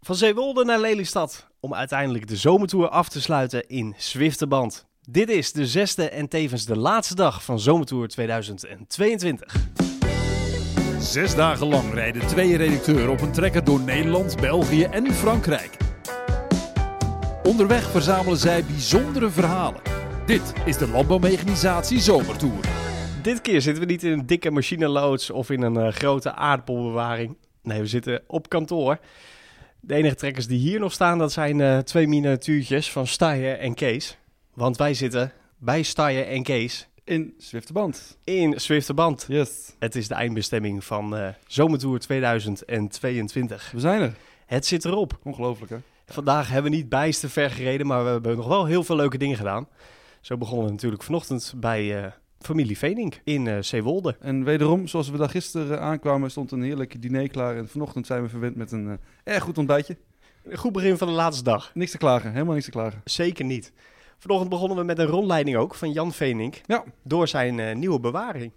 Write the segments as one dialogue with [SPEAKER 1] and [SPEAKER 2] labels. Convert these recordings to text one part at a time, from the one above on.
[SPEAKER 1] Van Zeewolde naar Lelystad om uiteindelijk de zomertour af te sluiten in Zwifterband. Dit is de zesde en tevens de laatste dag van Zomertour 2022.
[SPEAKER 2] Zes dagen lang rijden twee redacteuren op een trekker door Nederland, België en Frankrijk. Onderweg verzamelen zij bijzondere verhalen. Dit is de Landbouwmechanisatie Zomertour.
[SPEAKER 1] Dit keer zitten we niet in een dikke machineloods of in een eh, grote aardappelbewaring. Nee, we zitten op kantoor. De enige trekkers die hier nog staan, dat zijn eh, twee miniatuurtjes van Steyer en Kees. Want wij zitten bij Steyer en Kees
[SPEAKER 3] In Zwifterband.
[SPEAKER 1] in Zwifterband.
[SPEAKER 3] Yes.
[SPEAKER 1] Het is de eindbestemming van eh, Zomertour 2022.
[SPEAKER 3] We zijn er.
[SPEAKER 1] Het zit erop.
[SPEAKER 3] Ongelooflijk hè?
[SPEAKER 1] Vandaag hebben we niet bijster ver gereden, maar we hebben nog wel heel veel leuke dingen gedaan. Zo begonnen we natuurlijk vanochtend bij eh, familie Venink in eh Zeewolde.
[SPEAKER 3] En wederom, zoals we daar gisteren aankwamen, stond een heerlijk diner klaar. En vanochtend zijn we verwend met een eh, erg goed ontbijtje.
[SPEAKER 1] Een goed begin van de laatste dag.
[SPEAKER 3] Niks te klagen, helemaal niks te klagen.
[SPEAKER 1] Zeker niet. Vanochtend begonnen we met een rondleiding ook van Jan Venink.
[SPEAKER 3] Ja.
[SPEAKER 1] Door zijn eh, nieuwe bewaring.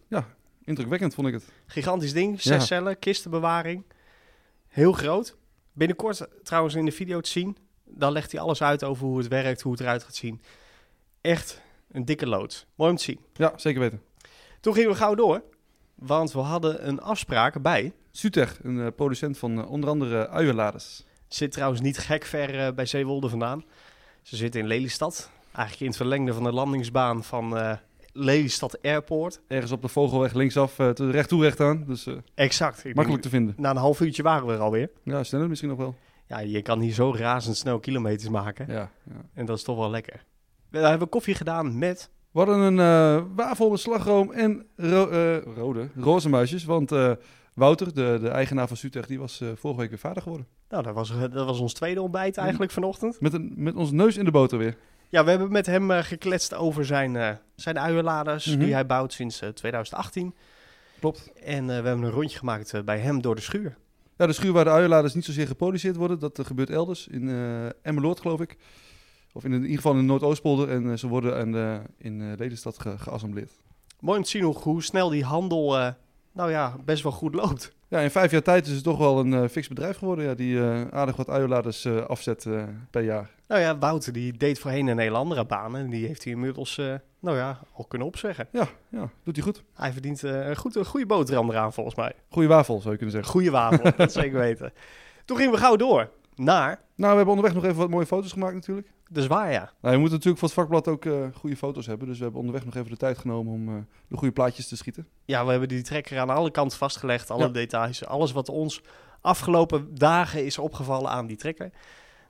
[SPEAKER 3] Indrukwekkend vond ik het.
[SPEAKER 1] Gigantisch ding, zes
[SPEAKER 3] Ja.
[SPEAKER 1] cellen, kistenbewaring. Heel groot. Binnenkort eh, trouwens in de video te zien. Dan legt hij alles uit over hoe het werkt, hoe het eruit gaat zien. Echt een dikke lood. Mooi om te zien.
[SPEAKER 3] Ja, zeker weten.
[SPEAKER 1] Toen gingen we gauw door, want we hadden een afspraak bij.
[SPEAKER 3] Sutech, een eh, producent van eh, onder andere uienladers.
[SPEAKER 1] Zit trouwens niet gek ver eh, bij Zeewolde vandaan. Ze zitten in Lelystad. Eigenlijk in het verlengde van de landingsbaan van eh, Lelystad Airport.
[SPEAKER 3] Ergens op de Vogelweg linksaf, eh, te- recht toe recht aan. Dus eh,
[SPEAKER 1] Exact. Ik denk-
[SPEAKER 3] makkelijk te vinden.
[SPEAKER 1] Na een half uurtje waren we er alweer.
[SPEAKER 3] Ja, sneller misschien nog wel.
[SPEAKER 1] Ja, je kan hier zo razendsnel kilometers maken.
[SPEAKER 3] Ja, ja.
[SPEAKER 1] En dat is toch wel lekker. We daar hebben we koffie gedaan met...
[SPEAKER 3] We hadden een eh, wafel met slagroom en ro- eh, rode, roze muisjes. Want eh, Wouter, de, de eigenaar van Sutech, die was eh, vorige week weer vader geworden.
[SPEAKER 1] Nou, dat was, dat was ons tweede
[SPEAKER 3] Mhm.
[SPEAKER 1] ontbijt eigenlijk vanochtend.
[SPEAKER 3] Met, een, met ons neus in de boter weer.
[SPEAKER 1] Ja, we hebben met hem eh, gekletst over zijn, eh, zijn uienladers
[SPEAKER 3] Mhm.
[SPEAKER 1] die hij bouwt sinds eh, 2018.
[SPEAKER 3] Klopt.
[SPEAKER 1] En eh, we hebben een rondje gemaakt eh, bij hem door de schuur.
[SPEAKER 3] Ja, de schuur waar de uienladers niet zozeer geproduceerd worden, dat eh, gebeurt elders. In eh Emmeloord, geloof ik. Of in, in ieder geval in Noordoostpolder. En eh, ze worden aan de- in eh Lelystad ge- geassembleerd.
[SPEAKER 1] Mooi om te zien hoe, hoe snel die handel, eh, nou ja, best wel goed loopt.
[SPEAKER 3] Ja, in vijf jaar tijd is het toch wel een eh, fix bedrijf geworden. Ja, die eh, aardig wat uienladers eh, afzet eh, per jaar.
[SPEAKER 1] Nou ja, Wouter die deed voorheen een hele andere baan en die heeft hij inmiddels, eh, nou ja, al kunnen opzeggen.
[SPEAKER 3] Ja, ja doet hij goed.
[SPEAKER 1] Hij verdient eh, een goed, een goede boterham eraan volgens mij.
[SPEAKER 3] Goeie wafel, zou je kunnen
[SPEAKER 1] Een
[SPEAKER 3] zeggen.
[SPEAKER 1] goede wafel, dat zeker weten. Toen gingen we gauw door naar
[SPEAKER 3] Nou, we hebben onderweg nog even wat mooie foto's gemaakt natuurlijk.
[SPEAKER 1] de Zwaarja.
[SPEAKER 3] Nou, je moet natuurlijk voor het vakblad ook eh, goede foto's hebben. Dus we hebben onderweg nog even de tijd genomen om eh, de goede plaatjes te schieten.
[SPEAKER 1] Ja, we hebben die trekker aan alle kanten vastgelegd, alle
[SPEAKER 3] Ja.
[SPEAKER 1] details, alles wat ons afgelopen dagen is opgevallen aan die trekker.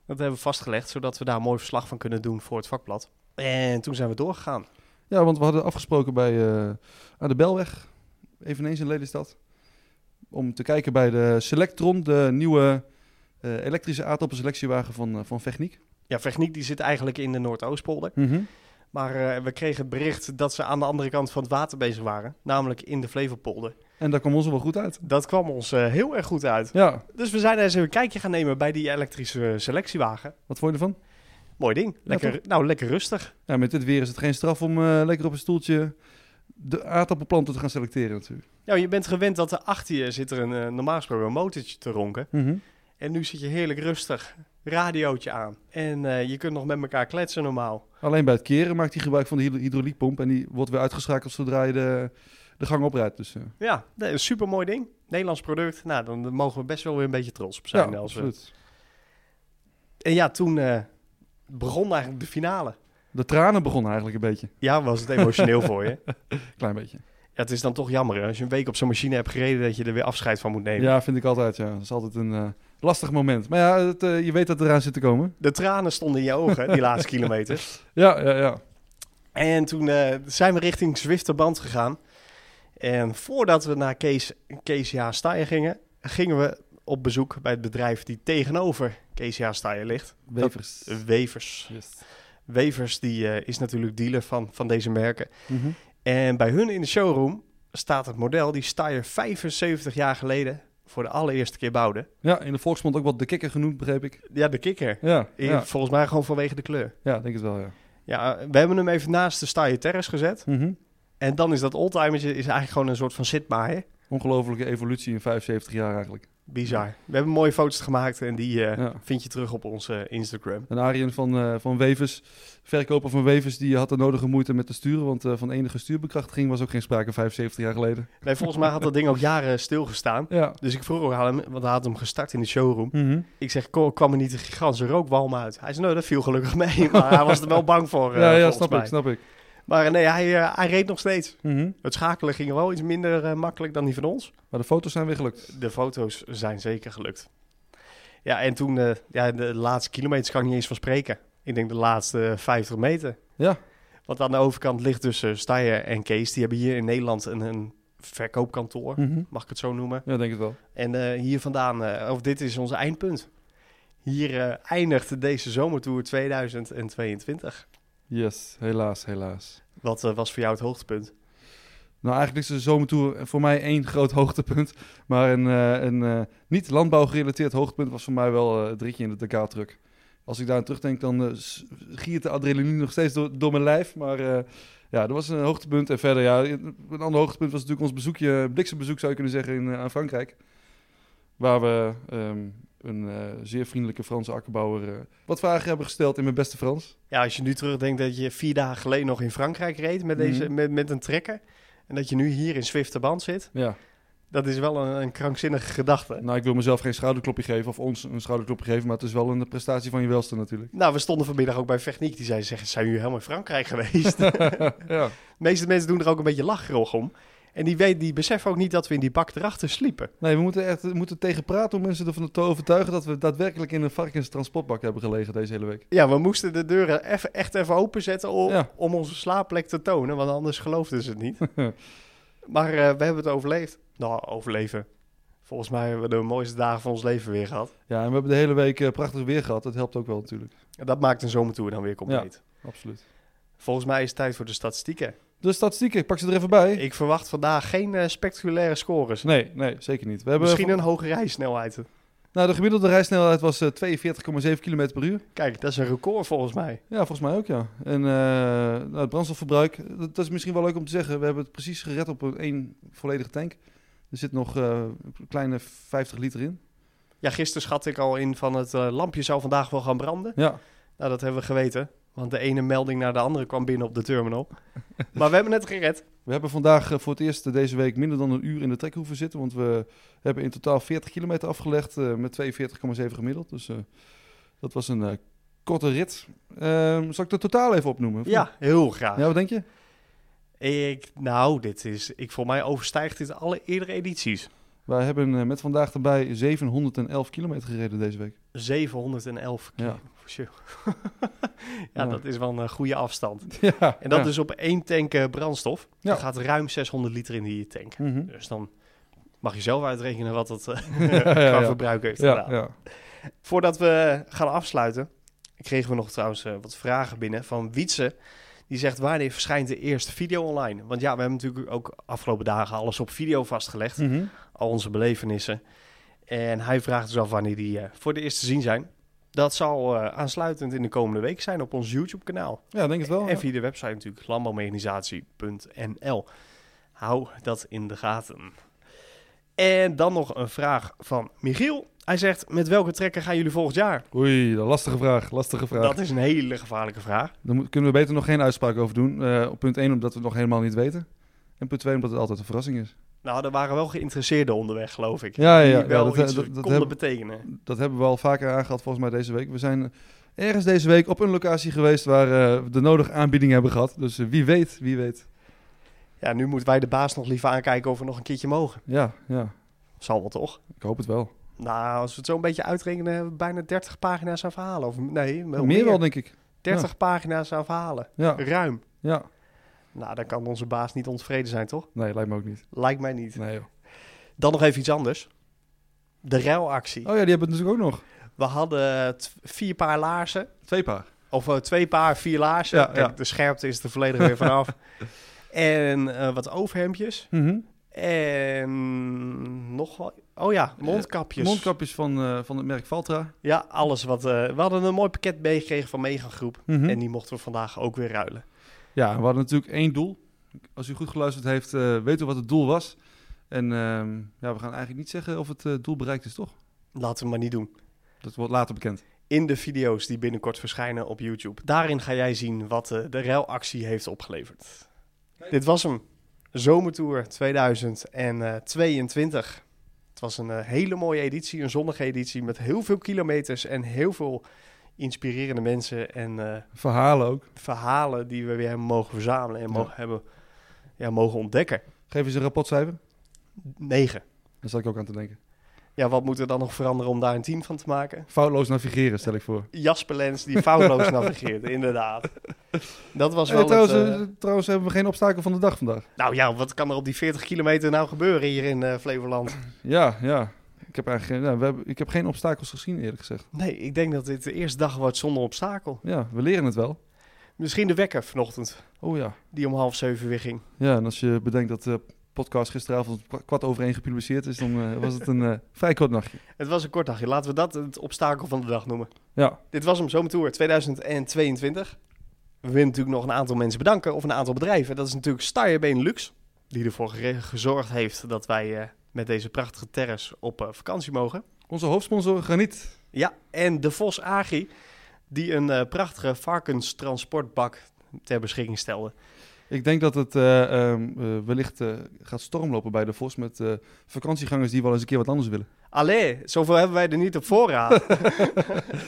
[SPEAKER 1] Dat hebben we vastgelegd, zodat we daar een mooi verslag van kunnen doen voor het vakblad. En toen zijn we doorgegaan.
[SPEAKER 3] Ja, want we hadden afgesproken bij, eh, aan de Belweg, eveneens in Lelystad. Om te kijken bij de Selectron, de nieuwe eh, elektrische aardappelselectiewagen van, eh, van Vechniek.
[SPEAKER 1] Ja, Vechniek die zit eigenlijk in de Noordoostpolder. Maar eh, we kregen het bericht dat ze aan de andere kant van het water bezig waren. Namelijk in de Flevopolder.
[SPEAKER 3] En daar kwam ons wel goed uit.
[SPEAKER 1] Dat kwam ons eh, heel erg goed uit.
[SPEAKER 3] Ja,
[SPEAKER 1] Dus we zijn daar eens even een kijkje gaan nemen bij die elektrische eh, selectiewagen.
[SPEAKER 3] wat vond je ervan?
[SPEAKER 1] Mooi ding. Lekker, nou, lekker rustig.
[SPEAKER 3] Ja, met dit weer is het geen straf om eh, lekker op een stoeltje de aardappelplanten te gaan selecteren natuurlijk.
[SPEAKER 1] Nou, je bent gewend dat er achter je zit er een eh, normaal gesproken een motortje te ronken. En nu zit je heerlijk rustig. Radiootje aan. En eh, je kunt nog met elkaar kletsen normaal.
[SPEAKER 3] Alleen bij het keren maakt hij gebruik van de hydro- hydrauliekpomp en die wordt weer uitgeschakeld zodra je de, de gang oprijdt. Dus, eh,
[SPEAKER 1] Ja, een super mooi ding. Nederlands product. Nou, dan dan mogen we best wel weer een beetje trots op zijn. als we
[SPEAKER 3] absoluut.
[SPEAKER 1] En ja, toen eh, begon eigenlijk de finale.
[SPEAKER 3] De tranen begonnen eigenlijk een beetje,
[SPEAKER 1] Ja, was het emotioneel voor je.
[SPEAKER 3] klein beetje.
[SPEAKER 1] Ja, het is dan toch jammer hè, als je een week op zo'n machine hebt gereden dat je er weer afscheid van moet nemen.
[SPEAKER 3] Ja, vind ik altijd. Ja. Dat is altijd een eh, lastig moment. Maar ja, het, eh, je weet dat het eraan zit te komen.
[SPEAKER 1] De tranen stonden in je ogen die laatste kilometer.
[SPEAKER 3] Ja, ja, ja.
[SPEAKER 1] En toen eh, zijn we richting Zwifterband gegaan. En voordat we naar Kees, Kees Ja Staaien gingen, gingen we op bezoek bij het bedrijf die tegenover Kees Ja Staaien ligt.
[SPEAKER 3] Wevers.
[SPEAKER 1] Wevers.
[SPEAKER 3] Yes.
[SPEAKER 1] Wevers die, eh, is natuurlijk dealer van, van deze merken.
[SPEAKER 3] Mhm.
[SPEAKER 1] En bij hun in de showroom staat het model die Steyr 75 jaar geleden voor de allereerste keer bouwde.
[SPEAKER 3] Ja, in de volksmond ook wat de kikker genoemd, begreep ik.
[SPEAKER 1] Ja, de kikker.
[SPEAKER 3] Ja,
[SPEAKER 1] Hier,
[SPEAKER 3] ja.
[SPEAKER 1] Volgens mij gewoon vanwege de kleur.
[SPEAKER 3] ja denk het wel, ja.
[SPEAKER 1] Ja, eh, we hebben hem even naast de Steyr Terrace gezet.
[SPEAKER 3] Mhm.
[SPEAKER 1] En dan is dat oldtimertje is eigenlijk gewoon een soort van zitmaaier.
[SPEAKER 3] Ongelofelijke evolutie in 75 jaar eigenlijk.
[SPEAKER 1] Bizar. We hebben mooie foto's gemaakt en die eh,
[SPEAKER 3] Ja.
[SPEAKER 1] vind je terug op onze Instagram.
[SPEAKER 3] En Arjen van, eh, van Wevers, verkoper van Wevers, die had de nodige moeite met te sturen. Want eh, van enige stuurbekrachtiging was ook geen sprake 75 jaar geleden.
[SPEAKER 1] Nee, volgens mij had dat ding ook jaren stilgestaan.
[SPEAKER 3] Ja.
[SPEAKER 1] Dus ik vroeg ook aan hem, want hij had hem gestart in de showroom.
[SPEAKER 3] Mhm.
[SPEAKER 1] Ik zeg, "Ko- kwam er niet een gigantische rookwalm uit? Hij zei, nou, dat viel gelukkig mee. Maar hij was er wel bang voor, eh,
[SPEAKER 3] Oh, ja, ja,
[SPEAKER 1] volgens
[SPEAKER 3] snap
[SPEAKER 1] mij.
[SPEAKER 3] ik, snap ik.
[SPEAKER 1] Maar eh, nee, hij, eh, hij reed nog steeds.
[SPEAKER 3] Mhm.
[SPEAKER 1] Het schakelen ging wel iets minder eh, makkelijk dan die van ons.
[SPEAKER 3] Maar de foto's zijn weer gelukt.
[SPEAKER 1] De foto's zijn zeker gelukt. Ja, en toen, eh, ja, de laatste kilometers kan ik niet eens van spreken. Ik denk de laatste 50 meter.
[SPEAKER 3] Ja.
[SPEAKER 1] Want aan de overkant ligt dus eh Steyer en Kees. Die hebben hier in Nederland een, een verkoopkantoor,
[SPEAKER 3] Mhm.
[SPEAKER 1] mag ik het zo noemen.
[SPEAKER 3] Ja, denk het wel.
[SPEAKER 1] En eh, hier vandaan, eh, of dit is ons eindpunt. Hier eh, eindigt deze zomertour 2022.
[SPEAKER 3] Yes, helaas, helaas.
[SPEAKER 1] Wat eh, was voor jou het hoogtepunt?
[SPEAKER 3] Nou, eigenlijk is de zomertour voor mij één groot hoogtepunt. Maar een, eh, een eh, niet landbouwgerelateerd hoogtepunt was voor mij wel eh, het ritje in de Dakar-truck. Als ik daar aan terugdenk, dan eh, s- giert de adrenaline nog steeds door, door mijn lijf. Maar eh, ja, dat was een hoogtepunt. En verder, ja, een ander hoogtepunt was natuurlijk ons bezoekje, eh, bliksembezoek zou je kunnen zeggen, in, eh, aan Frankrijk. Waar we ehm, een eh, zeer vriendelijke Franse akkerbouwer eh, wat vragen hebben gesteld in mijn beste Frans.
[SPEAKER 1] Ja, als je nu terugdenkt dat je vier dagen geleden nog in Frankrijk reed met, deze,
[SPEAKER 3] Mhm.
[SPEAKER 1] met, met een trekker. En dat je nu hier in Zwifterband zit.
[SPEAKER 3] Ja,
[SPEAKER 1] Dat is wel een, een krankzinnige gedachte.
[SPEAKER 3] nou ik wil mezelf geen schouderklopje geven of ons een schouderklopje geven, maar het is wel een prestatie van je welste natuurlijk.
[SPEAKER 1] Nou, we stonden vanmiddag ook bij Techniek. Die zei, zeggen, zijn jullie helemaal in Frankrijk geweest? De
[SPEAKER 3] ja.
[SPEAKER 1] meeste mensen doen er ook een beetje lacherig om. En die, weet, die beseffen ook niet dat we in die bak erachter sliepen.
[SPEAKER 3] Nee, we moeten echt we moeten tegen praten om mensen ervan te overtuigen dat we daadwerkelijk in een varkenstransportbak hebben gelegen deze hele week.
[SPEAKER 1] Ja, we moesten de deuren effe- echt even openzetten om,
[SPEAKER 3] Ja.
[SPEAKER 1] om onze slaapplek te tonen. Want anders geloofden ze het niet. maar eh, we hebben het overleefd. Nou, overleven. Volgens mij hebben we de mooiste dagen van ons leven weer gehad.
[SPEAKER 3] Ja, en we hebben de hele week eh, prachtig weer gehad. Dat helpt ook wel natuurlijk.
[SPEAKER 1] En dat maakt een zomertour dan weer compleet.
[SPEAKER 3] Absoluut.
[SPEAKER 1] Volgens mij is het tijd voor de statistieken.
[SPEAKER 3] De statistieken, ik pak ze er even bij.
[SPEAKER 1] Ik verwacht vandaag geen eh, spectaculaire scores.
[SPEAKER 3] Nee, nee, zeker niet. We hebben
[SPEAKER 1] Misschien een hoge rijsnelheid.
[SPEAKER 3] Nou, de gemiddelde rijsnelheid was eh, 42,7 km per uur.
[SPEAKER 1] Kijk, dat is een record volgens mij.
[SPEAKER 3] Ja, volgens mij ook, ja. En eh, nou, het brandstofverbruik, dat, dat is misschien wel leuk om te zeggen. We hebben het precies gered op een één volledige tank. Er zit nog eh, een kleine 50 liter in.
[SPEAKER 1] Ja, gisteren schat ik al in van het eh, lampje zou vandaag wel gaan branden.
[SPEAKER 3] Ja,
[SPEAKER 1] Nou, dat hebben we geweten. Want de ene melding naar de andere kwam binnen op de terminal. maar we hebben het gered.
[SPEAKER 3] We hebben vandaag eh, voor het eerst eh, deze week minder dan een uur in de trek hoeven zitten. Want we hebben in totaal 40 kilometer afgelegd eh, met 42,7 gemiddeld. Dus eh, dat was een eh, korte rit. Ehm, zal ik de totaal even opnoemen? of
[SPEAKER 1] Ja, heel
[SPEAKER 3] niet?
[SPEAKER 1] graag.
[SPEAKER 3] Ja, wat denk je?
[SPEAKER 1] Ik, nou, dit is, ik voor mij overstijgt dit alle eerdere edities.
[SPEAKER 3] Wij hebben eh, met vandaag erbij 711 kilometer gereden deze week.
[SPEAKER 1] 711 keer.
[SPEAKER 3] Ja.
[SPEAKER 1] Ja,
[SPEAKER 3] Ja.
[SPEAKER 1] dat is wel een eh, goede afstand.
[SPEAKER 3] ja.
[SPEAKER 1] En dat
[SPEAKER 3] ja.
[SPEAKER 1] dus op één tank eh, brandstof.
[SPEAKER 3] Ja.
[SPEAKER 1] Er gaat ruim 600 liter in die tank.
[SPEAKER 3] Mhm.
[SPEAKER 1] Dus dan mag je zelf uitrekenen wat dat eh,
[SPEAKER 3] ja,
[SPEAKER 1] qua
[SPEAKER 3] ja.
[SPEAKER 1] verbruik heeft
[SPEAKER 3] Ja,
[SPEAKER 1] gedaan.
[SPEAKER 3] ja.
[SPEAKER 1] Voordat we gaan afsluiten, kregen we nog trouwens eh, wat vragen binnen van Wietse. Die zegt, wanneer verschijnt de eerste video online? Want ja, we hebben natuurlijk ook afgelopen dagen alles op video vastgelegd.
[SPEAKER 3] Mhm.
[SPEAKER 1] Al onze belevenissen. En hij vraagt dus af wanneer die eh, voor de eerste te zien zijn. Dat zal eh, aansluitend in de komende week zijn op ons YouTube-kanaal.
[SPEAKER 3] ja ik denk het wel.
[SPEAKER 1] En via de website natuurlijk landbouwmechanisatie.nl. Hou dat in de gaten. En dan nog een vraag van Michiel. Hij zegt, met welke trekker gaan jullie volgend jaar?
[SPEAKER 3] Oei, dat- lastige vraag, lastige vraag.
[SPEAKER 1] Dat is een hele gevaarlijke vraag.
[SPEAKER 3] Daar moet- kunnen we beter nog geen uitspraak over doen. Eh, op punt 1 omdat we het nog helemaal niet weten. En punt 2 omdat het altijd een verrassing is.
[SPEAKER 1] Nou, er waren wel geïnteresseerden onderweg, geloof ik.
[SPEAKER 3] Ja, ja, ja.
[SPEAKER 1] Die wel
[SPEAKER 3] Ja, dat-
[SPEAKER 1] iets
[SPEAKER 3] dat- dat
[SPEAKER 1] konden
[SPEAKER 3] hebben-
[SPEAKER 1] betekenen.
[SPEAKER 3] Dat hebben we al vaker aangehad volgens mij deze week. We zijn ergens deze week op een locatie geweest waar eh, we de nodige aanbiedingen hebben gehad. Dus eh, wie weet, wie weet.
[SPEAKER 1] Ja, nu moeten wij de baas nog liever aankijken of we nog een keertje mogen.
[SPEAKER 3] Ja, ja,
[SPEAKER 1] Zal wel toch?
[SPEAKER 3] ik hoop het wel.
[SPEAKER 1] Nou, als we het zo een beetje uitrekenen, hebben we bijna 30 pagina's aan verhalen. Of nee, wel
[SPEAKER 3] meer, wel, denk ik.
[SPEAKER 1] 30 pagina's aan verhalen.
[SPEAKER 3] Ja,
[SPEAKER 1] Ruim.
[SPEAKER 3] ja.
[SPEAKER 1] Nou, dan kan onze baas niet ontevreden zijn, toch?
[SPEAKER 3] Nee, lijkt me ook niet.
[SPEAKER 1] Lijkt mij niet.
[SPEAKER 3] Nee, joh.
[SPEAKER 1] Dan nog even iets anders. De ruilactie.
[SPEAKER 3] Oh ja, die hebben het natuurlijk ook nog.
[SPEAKER 1] We hadden eh, t- vier paar laarzen.
[SPEAKER 3] Twee paar.
[SPEAKER 1] Of eh, twee paar, vier laarzen.
[SPEAKER 3] Ja,
[SPEAKER 1] Kijk,
[SPEAKER 3] ja.
[SPEAKER 1] de scherpte is er volledig weer vanaf. en eh, wat overhemdjes.
[SPEAKER 3] Mhm.
[SPEAKER 1] En nog wel... Oh ja,
[SPEAKER 3] Eh,
[SPEAKER 1] mondkapjes.
[SPEAKER 3] Mondkapjes van, eh, van het merk Valtra.
[SPEAKER 1] Ja, alles wat... eh, we hadden een mooi pakket meegekregen van Megan Groep.
[SPEAKER 3] Mhm.
[SPEAKER 1] En die mochten we vandaag ook weer ruilen.
[SPEAKER 3] Ja, we hadden natuurlijk één doel. Als u goed geluisterd heeft, eh, weet u wat het doel was. En ehm, ja, we gaan eigenlijk niet zeggen of het eh, doel bereikt is, toch?
[SPEAKER 1] Laten we maar niet doen.
[SPEAKER 3] Dat wordt later bekend.
[SPEAKER 1] In de video's die binnenkort verschijnen op YouTube. Daarin ga jij zien wat eh, de ruilactie heeft opgeleverd. Dit was hem. Zomertour 2022. Het was een eh, hele mooie editie, een zonnige editie met heel veel kilometers en heel veel inspirerende mensen en eh,
[SPEAKER 3] Verhalen ook.
[SPEAKER 1] verhalen die we weer hebben mogen verzamelen en
[SPEAKER 3] Ja.
[SPEAKER 1] mogen, hebben, ja, mogen ontdekken.
[SPEAKER 3] Geef eens een rapportcijfer.
[SPEAKER 1] 9.
[SPEAKER 3] Daar zat ik ook aan te denken.
[SPEAKER 1] Ja, wat moet er dan nog veranderen om daar een team van te maken?
[SPEAKER 3] Foutloos navigeren, stel ik voor.
[SPEAKER 1] Jasper Lens die foutloos navigeert, inderdaad. Dat was wel
[SPEAKER 3] Hey, trouwens,
[SPEAKER 1] het, eh,
[SPEAKER 3] eh, trouwens hebben we geen obstakel van de dag vandaag.
[SPEAKER 1] Nou ja, wat kan er op die 40 kilometer nou gebeuren hier in eh, Flevoland?
[SPEAKER 3] Ja, ja. Ik heb, eigenlijk, geen- nou, we hebben, ik heb geen obstakels gezien, eerlijk gezegd.
[SPEAKER 1] Nee, ik denk dat dit de eerste dag wordt zonder obstakel.
[SPEAKER 3] Ja, we leren het wel.
[SPEAKER 1] Misschien de wekker vanochtend,
[SPEAKER 3] Oh ja.
[SPEAKER 1] die om half zeven weer ging.
[SPEAKER 3] Ja, en als je bedenkt dat de podcast gisteravond om kwa- kwart over één gepubliceerd is, dan eh, was het een eh, vrij kort nachtje.
[SPEAKER 1] Het was een kort dagje. Laten we dat het obstakel van de dag noemen.
[SPEAKER 3] Ja,
[SPEAKER 1] Dit was hem, Zomertour 2022. We willen natuurlijk nog een aantal mensen bedanken, of een aantal bedrijven. Dat is natuurlijk Starje Benelux, die ervoor gere- gezorgd heeft dat wij eh, met deze prachtige terras op eh, vakantie mogen.
[SPEAKER 3] onze hoofdsponsor Graniet.
[SPEAKER 1] Ja, en de Vos Agri, die een eh, prachtige varkenstransportbak ter beschikking stelde.
[SPEAKER 3] Ik denk dat het eh, ehm, eh, wellicht eh, gaat stormlopen bij de Vos met eh, vakantiegangers die wel eens een keer wat anders willen.
[SPEAKER 1] Allee, zoveel hebben wij er niet op voorraad.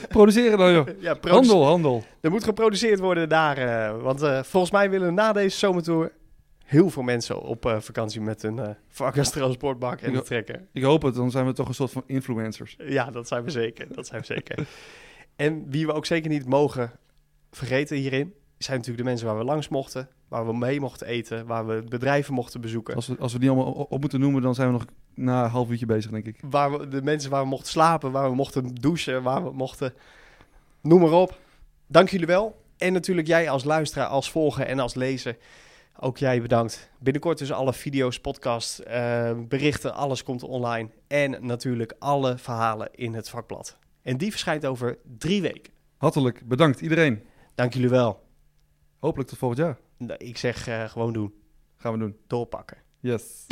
[SPEAKER 3] Produceren dan, joh.
[SPEAKER 1] ja, produce-
[SPEAKER 3] Handel, handel.
[SPEAKER 1] Er moet geproduceerd worden daar. eh, want eh, volgens mij willen na deze zomertour heel veel mensen op eh, vakantie met een eh varkenstransportbak en
[SPEAKER 3] Ja.
[SPEAKER 1] een trekker.
[SPEAKER 3] Ik hoop het, dan zijn we toch een soort van influencers.
[SPEAKER 1] Ja, dat zijn we zeker. Dat zijn we zeker. En wie we ook zeker niet mogen vergeten hierin, zijn natuurlijk de mensen waar we langs mochten, waar we mee mochten eten, waar we bedrijven mochten bezoeken.
[SPEAKER 3] Als we, als we die allemaal o- op moeten noemen, dan zijn we nog na een half uurtje bezig, denk ik.
[SPEAKER 1] Waar we, de mensen waar we mochten slapen, waar we mochten douchen, waar we mochten. Noem maar op. Dank jullie wel. En natuurlijk jij als luisteraar, als volger en als lezer. Ook jij bedankt. Binnenkort dus alle video's, podcasts, eh, berichten, alles komt online. En natuurlijk alle verhalen in het vakblad. En die verschijnt over drie weken.
[SPEAKER 3] Hartelijk bedankt iedereen.
[SPEAKER 1] Dank jullie wel.
[SPEAKER 3] Hopelijk tot volgend jaar.
[SPEAKER 1] Nou, ik zeg eh, gewoon doen.
[SPEAKER 3] Gaan we doen.
[SPEAKER 1] Doorpakken.
[SPEAKER 3] Yes.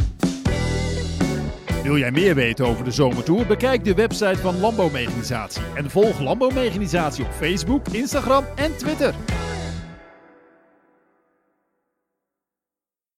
[SPEAKER 2] Wil jij meer weten over de zomertour? Bekijk de website van Landbouwmechanisatie en volg Landbouwmechanisatie op Facebook, Instagram en Twitter.